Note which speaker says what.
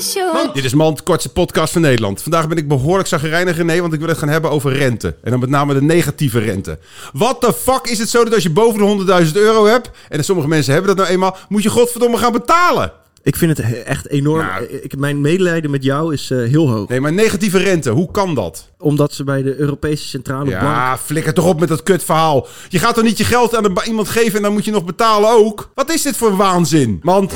Speaker 1: Sjoerd.
Speaker 2: Dit is Mand, kortste podcast van Nederland. Vandaag ben ik behoorlijk zagrijnig, René, want ik wil het gaan hebben over rente. En dan met name de negatieve rente. Wat de fuck is het zo dat als je boven de 100.000 euro hebt... en sommige mensen hebben dat nou eenmaal... moet je godverdomme gaan betalen.
Speaker 3: Ik vind het he- echt enorm.
Speaker 2: Nou.
Speaker 3: Ik, mijn medelijden met jou is eh, heel hoog.
Speaker 2: Nee, maar negatieve rente, hoe kan dat?
Speaker 3: Omdat ze bij de Europese Centrale Bank...
Speaker 2: Ja, flikker toch op met dat kutverhaal. Je gaat toch niet je geld aan een ba- iemand geven en dan moet je nog betalen ook? Wat is dit voor waanzin? Mand,